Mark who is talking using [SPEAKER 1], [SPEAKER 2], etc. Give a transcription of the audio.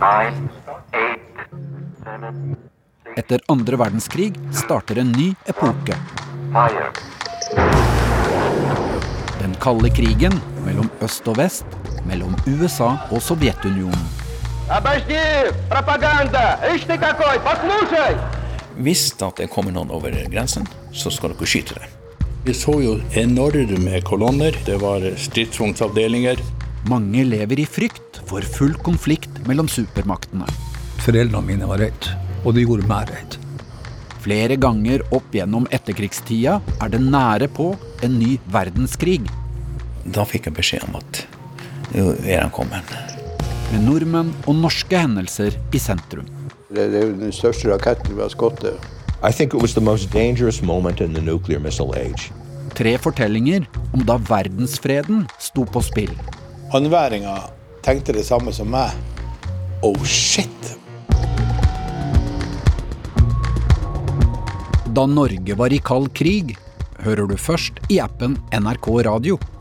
[SPEAKER 1] nine, eight, seven,
[SPEAKER 2] Etter andre verdenskrig starter en ny epoke.
[SPEAKER 1] fire.
[SPEAKER 2] Den kalde krigen mellom øst og vest, mellom USA og Sovjetunionen.
[SPEAKER 3] Обожди, пропаганда! Ишь ты какой, послушай!
[SPEAKER 4] Hvis at det kommer noen over grensen, så skal dere skyte dem.
[SPEAKER 5] Vi så jo enorme kolonner. Det var stridsvognsavdelinger.
[SPEAKER 2] Mange lever i frykt for full konflikt mellom supermaktene.
[SPEAKER 6] Foreldrene mine var redd, og det gjorde meg redd.
[SPEAKER 2] Flere ganger opp gjennom etterkrigstida er det nære på en ny verdenskrig.
[SPEAKER 4] Da fikk jeg beskjed om at nå er han kommet.
[SPEAKER 2] Med nordmenn og norske hendelser i sentrum.
[SPEAKER 7] Det, det er jo den største raketten vi har skutt. det.
[SPEAKER 8] I think it was the most dangerous moment in the nuclear missile age.
[SPEAKER 2] Tre fortellinger om da verdensfreden sto på spill.
[SPEAKER 5] Andværinga tenkte det samme som meg. Oh shit!
[SPEAKER 2] Da Norge var i kald krig, hører du først i appen NRK Radio.